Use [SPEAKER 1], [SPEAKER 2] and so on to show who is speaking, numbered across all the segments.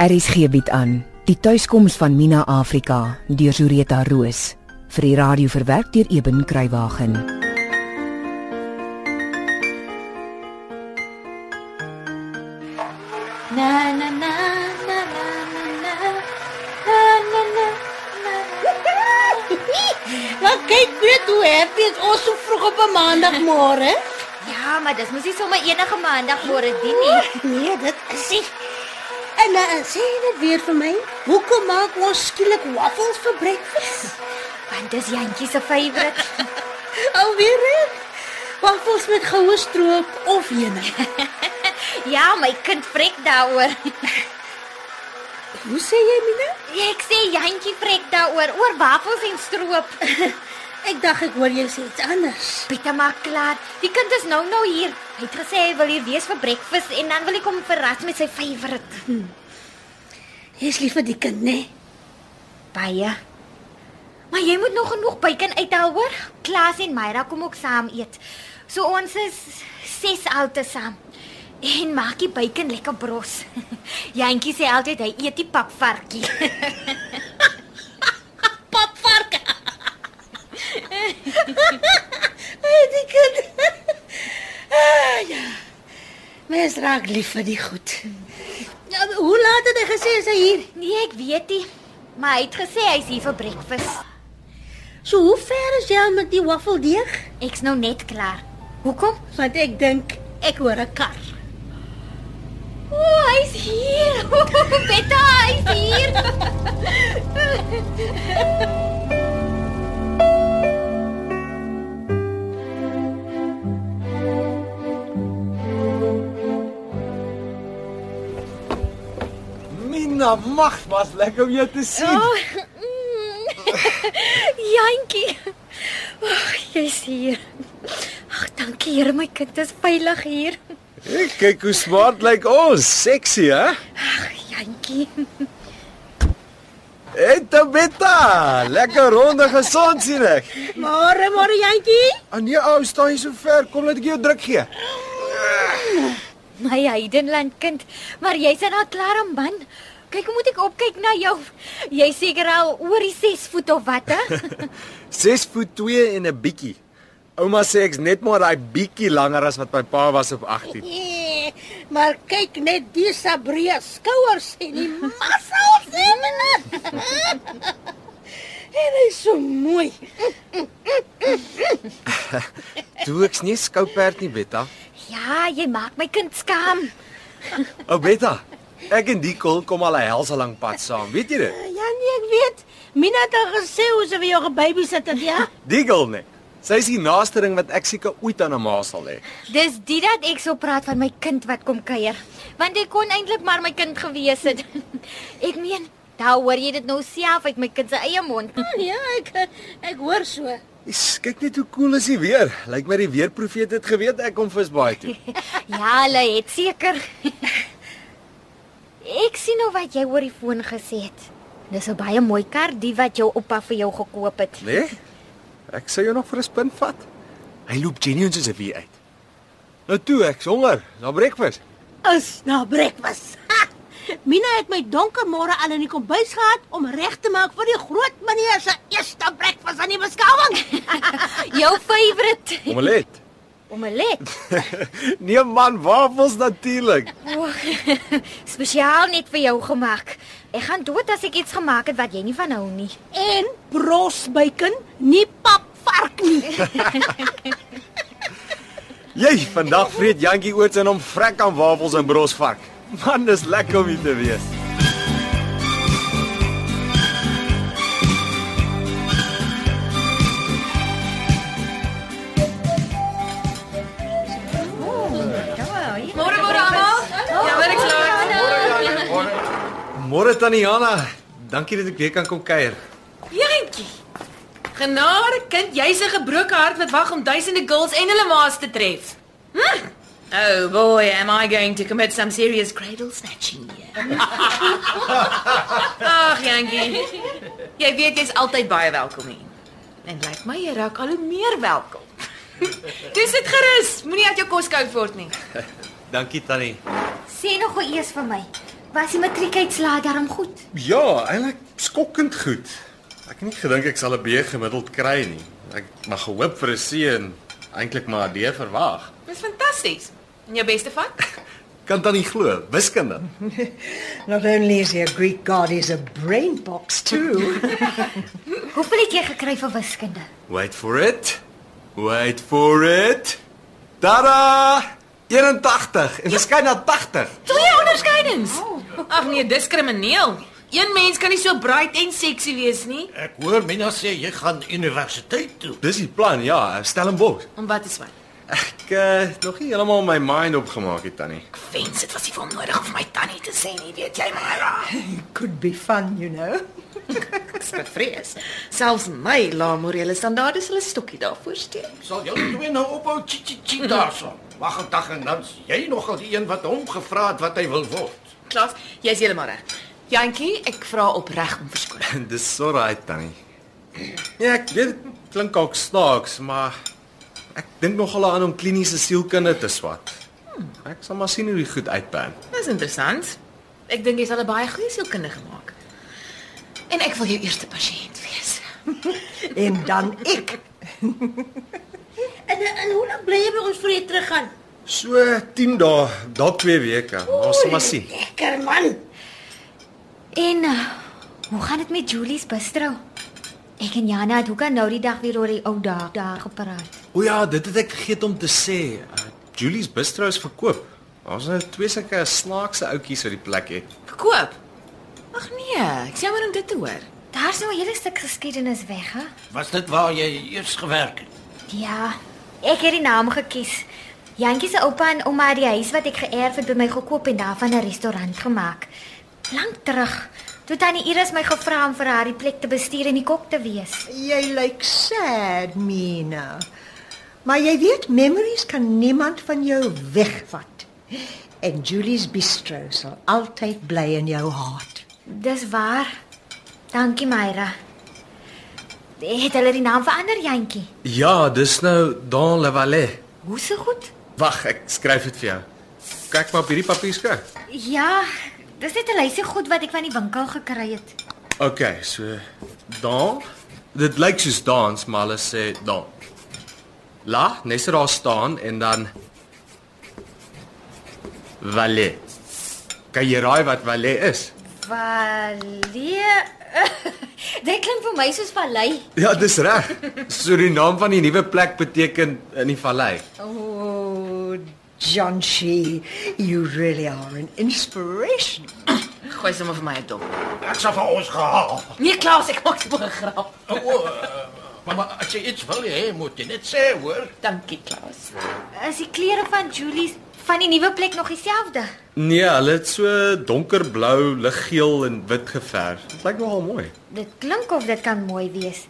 [SPEAKER 1] RSG bied aan Die tuiskoms van Mina Afrika deur Zureta Roos vir die radio verwerk deur Eben Kruiwagen.
[SPEAKER 2] Na na na na na na na na na na.
[SPEAKER 3] Nou kyk net hoe happy is ons so vroeg op 'n maandagmôre.
[SPEAKER 2] Ja, maar dis mos nie sommer enige maandagmôre dien nie.
[SPEAKER 3] Nee, dit is nie. En nou en sê net weer vir my, hoekom maak ons skielik waffels vir breakfast?
[SPEAKER 2] Want dis Jantjie se favourite.
[SPEAKER 3] Alweer hè? Waffels met goue stroop of heuning.
[SPEAKER 2] Ja, my kind vrek daaroor.
[SPEAKER 3] Hoe sê jy, Mina?
[SPEAKER 2] Ek sê Jantjie vrek daaroor oor wafels en stroop.
[SPEAKER 3] Ek dink ek hoor jy sê iets anders.
[SPEAKER 2] Pieter maak klaar. Die kind is nou nou hier. Hy het gesê hy wil hier wees vir breakfast en dan wil hy kom verras met sy favourite.
[SPEAKER 3] Jy's lief vir die kind, né?
[SPEAKER 2] Baie. Maar jy moet nog genoeg bacon uithaal hoor. Klaas en Myra kom ook saam eet. So ons is 6 oute saam. En maak die bacon lekker bros. Jantjie sê altyd hy eet die papvarkie.
[SPEAKER 3] Papvark. Hey, die kind. Ah, ja. Mens raak lief vir die goed. Ja, maar hoe laat het hy gesê sy hier?
[SPEAKER 2] nee, ek weet nie. Maar hy het gesê hy's hier vir breakfast.
[SPEAKER 3] So hoe ver is jy al met die waffeldeeg?
[SPEAKER 2] Ek's nou net klaar. Hoekom?
[SPEAKER 3] Want ek dink ek hoor 'n kar.
[SPEAKER 2] O, oh, hy's hier. Betta, hy's hier.
[SPEAKER 4] Mina, mag was lekker om jou te sien.
[SPEAKER 2] Oh, mm, Jantjie. Ag, jy's hier. Ag, dankie Here, my kind is veilig hier.
[SPEAKER 4] Hey, kyk hoe smart lyk ons, sexy hè?
[SPEAKER 2] Ag, Jantjie.
[SPEAKER 4] Eta beta, lekker ronde gesond sien ek.
[SPEAKER 3] Môre, môre jantjie.
[SPEAKER 4] Aan nee ou, staan jy so ver, kom laat ek jou druk gee.
[SPEAKER 2] My heidenland kind, maar jy's al klaar om man. Kyk, hoe moet ek opkyk na jou? Jy seker al oor die 6 voet of wat, hè?
[SPEAKER 4] 6 voet 2 en 'n bietjie. Ouma sê ek's net maar daai bietjie langer as wat my pa was op 18.
[SPEAKER 3] Nee, maar kyk net die Sabria skouers en die muscles in hom. En hy is so mooi.
[SPEAKER 4] Toe ek's nie skouperd nie, Betta.
[SPEAKER 2] ja, jy maak my kind skaam.
[SPEAKER 4] Ou Betta, ek en die kol kom al 'n helse lang pad saam, weet jy dit?
[SPEAKER 3] Ja nee, ek weet. Mina het al gesê hoe sy vir jou gebaby sit het, ja.
[SPEAKER 4] Die kol nee. Sy is die naaste ding wat ek seker ooit aan 'n ma sal hê.
[SPEAKER 2] Dis dit dat ek so praat van my kind wat kom kuier, want hy kon eintlik maar my kind gewees het. ek meen, daar hoor jy dit nou self uit my kind se eie mond.
[SPEAKER 3] Ja, ek ek hoor so.
[SPEAKER 4] Is, kyk net hoe cool is die weer. Lyk my die weerprofeet het geweet ek kom visbaai toe.
[SPEAKER 2] ja, hulle het seker. ek sien nou wat jy oor die foon gesê het. Dis 'n baie mooi kar die wat jou oupa vir jou gekoop het.
[SPEAKER 4] Né? Nee? Ek sou jou nog vir 'n spin vat. Hy loop genuine soos 'n wie uit. Nou toe, ek's honger. Na breakfast.
[SPEAKER 3] Is na breakfast. Ha! Mina het my donker môre al in die kombuis gehad om reg te maak vir die groot meneer se eerste breakfast aan die beskouing.
[SPEAKER 2] jou favourite
[SPEAKER 4] Omelet.
[SPEAKER 2] omelet.
[SPEAKER 4] nee man, wafels natuurlik.
[SPEAKER 2] O, Spesiaal net vir jou gemaak. Ek gaan dood as ek iets gemaak het wat jy nie van hou nie.
[SPEAKER 3] En brosbacon, nie papvark nie.
[SPEAKER 4] Jy, vandag vreet Jantjie oorts en hom vrek aan wafels en brosvark. Man, dis lekker om hier te wees.
[SPEAKER 2] Môre môre almal. Ja, wil ek klaar.
[SPEAKER 4] Môre tannie Jana. Dankie dat ek weer kan kom kuier.
[SPEAKER 5] Jentjie. Genade kind, jy's 'n gebroke hart wat wag om duisende girls en hulle maas te tref. Hm? Oh boy, am I going to commit some serious cradle snatching here. Ag Jentjie. Jy weet jy's altyd baie welkom hier. En lyk like my jy raak al hoe meer welkom. Dis dit gerus, moenie uit jou kos koud word nie.
[SPEAKER 4] Dankie tannie.
[SPEAKER 2] Sê nog gou eers vir my. Was die matriekuitslae daarom goed?
[SPEAKER 4] Ja, eintlik skokkend goed. Ek het nie gedink ek sal 'n B gemiddeld kry nie. Ek mag gehoop vir 'n C en eintlik maar 'n D verwag.
[SPEAKER 5] Dis fantasties. En jou beste vat?
[SPEAKER 4] Kan dan nie glo, wiskunde.
[SPEAKER 6] Not only is he a Greek god, he's a brain box too.
[SPEAKER 2] Hoeveel het jy gekry vir wiskunde?
[SPEAKER 4] Wait for it. Wait for it. Tada! 81 en verskyn na 80.
[SPEAKER 5] Twee onderskeidings. Ag nee, dis krimineel. Een mens kan nie so bright en sexy wees nie.
[SPEAKER 7] Ek hoor Mina sê jy gaan universiteit toe.
[SPEAKER 4] Dis die plan, ja, Stellenbosch.
[SPEAKER 5] En wat is wat?
[SPEAKER 4] Ek uh, nog nie heeltemal my mind opgemaak het tannie.
[SPEAKER 5] Ek wens dit was nie vir hom nodig om vir my tannie te sê nie, weet jy maar.
[SPEAKER 6] Could be fun, you know.
[SPEAKER 5] Ek's bevrees. Selfs my laamorele standaarde sal 'n stokkie daarvoor steek.
[SPEAKER 7] Sal julle twee nou ophou chichichi daarson. Wag 'n dag en dan is jy nogal die een wat hom gevra het wat hy wil word.
[SPEAKER 5] Klaas, jy's heeltemal reg. Jantjie, ek vra opreg om verskoning.
[SPEAKER 4] Dis so right tannie. Ja, ek weet dit klink ook snaaks, maar ek dink nogal aan om kliniese sielkunde te swat. Ek sal maar sien hoe die goed uitpan.
[SPEAKER 5] Dis interessant. Ek dink jy sal 'n baie goeie sielkundige maak. En ek wil jou eerste pasiënt wees.
[SPEAKER 6] En dan ek.
[SPEAKER 3] En en hoe lank bly jy by ons voor jy teruggaan?
[SPEAKER 4] So 10 dae, dalk 2 weke. Ons sal maar sien.
[SPEAKER 3] Lekker man.
[SPEAKER 2] En uh, hoe gaan dit met Julie's bistro? Ek en Jana het hoekom nou die dag weer oor die ou dae daar gepraat.
[SPEAKER 4] O ja, dit het ek vergeet om te sê. Uh, Julie's bistro is verkoop. Ons het twee sulke snaakse ouetjies wat die plek het.
[SPEAKER 5] Verkoop. Ag nee, ek sê maar om dit te hoor.
[SPEAKER 2] Daar's nou 'n hele stuk geskiedenis weg, hè?
[SPEAKER 7] Was dit waar jy eers gewerk het?
[SPEAKER 2] Ja, ek het die naam gekies. Jantjie se oupa en ouma het die huis wat ek geërf het by my gekoop en daarvan 'n restaurant gemaak. Lank terug. Toe tannie Iris my gevra om vir haar die plek te bestuur en die kok te wees.
[SPEAKER 6] Jy lyk sad, Mina. Maar jy weet memories kan niemand van jou wegvat. En Julie's bistro sal altyd bly in jou hart.
[SPEAKER 2] Dis waar. Dankie, Myra. Het hulle die naam verander, Jantjie?
[SPEAKER 4] Ja, dis nou Don Lavalet.
[SPEAKER 2] Hoe se goed?
[SPEAKER 4] Wag, ek skryf dit vir jou. Kyk maar op hierdie papier skryf.
[SPEAKER 2] Ja, dis net 'n lysie goed wat ek van die winkel gekry het.
[SPEAKER 4] OK, so Don, dit lyk soos dans, maar hulle sê Don. La, nes daar staan en dan Valet. Kan jy raai wat Valet is?
[SPEAKER 2] Valee. Dit klink vir my soos vallei.
[SPEAKER 4] Ja, dis reg. So die naam van die nuwe plek beteken in die vallei.
[SPEAKER 6] Oh, John Shee, you really are an inspiration.
[SPEAKER 5] Gooi sommer vir my 'n dop.
[SPEAKER 7] Ek sal vir ons gehaal.
[SPEAKER 5] Nee, Klaas, ek maak sommer 'n grap.
[SPEAKER 7] O, O, eh, mamma, as jy iets wil hê, moet jy net sê, hoor.
[SPEAKER 5] Dankie, Klaas.
[SPEAKER 2] Is die klere van Julie van die nuwe plek nog dieselfde?
[SPEAKER 4] Nee, hulle het so donkerblou, liggeel en wit geverf. Dit lyk nogal mooi.
[SPEAKER 2] Dit klink of dit kan mooi wees.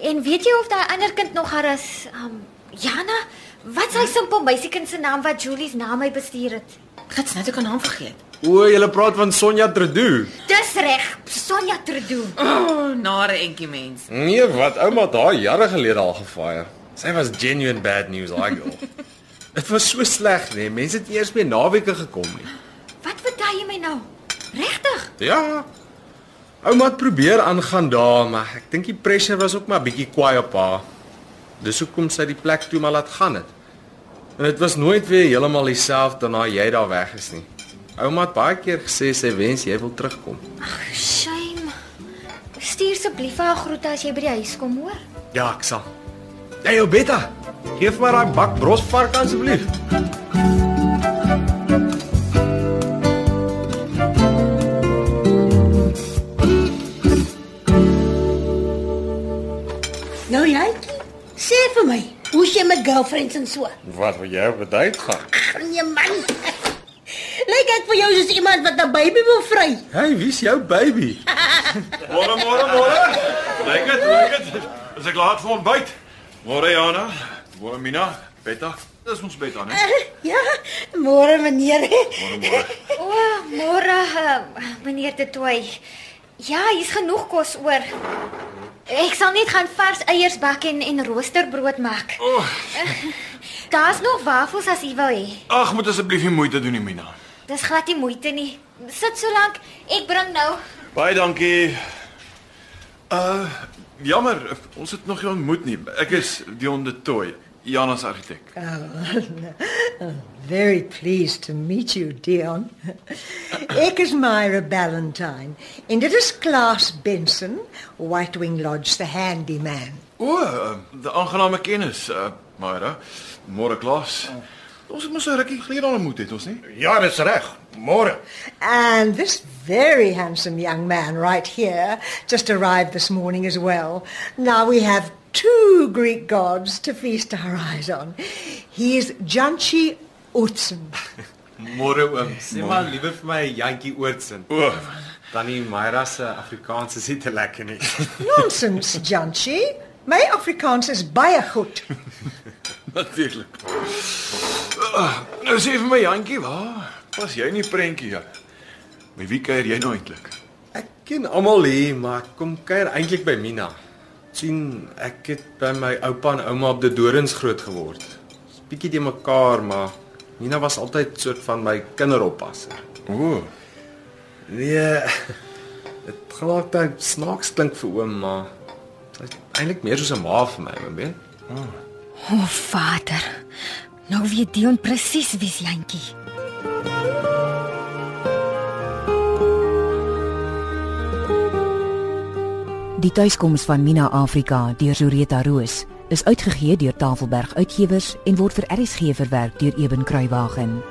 [SPEAKER 2] En weet jy of daai ander kind nog haar is? Um Jana, wat sy simpel meisiekind se naam wat Julie se naam hy bestuur het.
[SPEAKER 5] Gits net ek kan hom vergeet.
[SPEAKER 4] O, jy praat van Sonja Tredu.
[SPEAKER 2] Dis reg, Sonja Trudeau.
[SPEAKER 5] O, oh, nare entjie mens.
[SPEAKER 4] Nee, wat ouma daai jare gelede al gefire. Sy was genuine bad news daai girl. Dit was so sleg, nee. Mense het nie eers meer naweke gekom nie.
[SPEAKER 2] Wat vertel jy my nou? Regtig?
[SPEAKER 4] Ja. Ouma het probeer aangaan daar, maar ek dink die pressure was ook maar bietjie kwaai op haar. Dis hoekom sy die plek toe maar laat gaan het. En dit was nooit weer heeltemal dieselfde na jy daar weg is nie. Ouma het baie keer gesê sy wens jy wil terugkom.
[SPEAKER 2] Shame. Stuur asseblief vir haar groete as jy by die huis kom, hoor.
[SPEAKER 4] Ja, ek sal. Jy, hey, Beta, gee vir my daai bak brosvark asseblief.
[SPEAKER 3] Nou jykie, sê vir my, hoe is jy met girlfriends en so?
[SPEAKER 4] Wat wil jy op 'n date gaan?
[SPEAKER 3] Ag nee man. Lyk ek vir jou soos iemand wat 'n baby wil vry.
[SPEAKER 4] Hey, wie's jou baby?
[SPEAKER 8] Môre, môre, môre. Lyk dit, lyk dit. Is ek laat vir ontbyt? Môre Jana, môre Mina, Betta. Dis ons bed aan, hè?
[SPEAKER 3] Ja, môre meneer.
[SPEAKER 8] Môre, môre.
[SPEAKER 2] O, môre, eh, meneer De Tooy. Ja, hier's genoeg kos oor. Ek sal net gaan vars eiers bak en en roosterbrood maak.
[SPEAKER 8] Oh,
[SPEAKER 2] Daar's nog wafels as u wil hê.
[SPEAKER 8] ag, moet asseblief nie moeite doen nie, Mina.
[SPEAKER 2] Dis glad nie moeite nie. Sit so lank. Ek bring nou.
[SPEAKER 8] Baie dankie. Uh jammer, ons het nog nie ontmoet nie. Ek is Dion de Tooy, Jana se argitek.
[SPEAKER 6] Very pleased to meet you, Dion. Ek is Myra Ballantyne en dit is Klaas Benson, White Wing Lodge the handyman.
[SPEAKER 8] O, uh, die aangename kennis, uh, Myra. Môre klas. Ons het mos 'n rukkie gelede al ontmoet het ons nie?
[SPEAKER 7] Ja, dis reg. Môre.
[SPEAKER 6] And this very handsome young man right here just arrived this morning as well. Now we have two Greek gods to feast our eyes on. He is Janchi Utsun.
[SPEAKER 4] Môre oom, sê maar liewer vir my Jantjie Oortsin.
[SPEAKER 8] O,
[SPEAKER 4] Tannie Myra se Afrikaans is nie te lekker nie.
[SPEAKER 6] Nonsense, Janchi. My Afrikaans is baie goed.
[SPEAKER 8] natuurlik. Uh, nou sê vir my Jantjie, waar? Was jy nie prentjie ja? Maar wie kuier jy nou eintlik?
[SPEAKER 4] Ek ken almal hier, maar ek kom kuier eintlik by Mina. sien ek het by my oupa en ouma op die Dorings groot geword. Ons bietjie te mekaar, maar Mina was altyd soort van my kinderoppasser.
[SPEAKER 8] O,
[SPEAKER 4] Nee. Dit gaan ook baie snaaks klink vir oom, maar sy is eintlik meer soos 'n ma vir my, oom, weet?
[SPEAKER 2] O, oh, Vader. Nou weet Dion presies wie's Jantjie.
[SPEAKER 1] Die tuiskoms van Mina Afrika deur Zureta Roos is uitgegee deur Tafelberg Uitgewers en word vir RSG verwerk deur Eben Kruiwagen.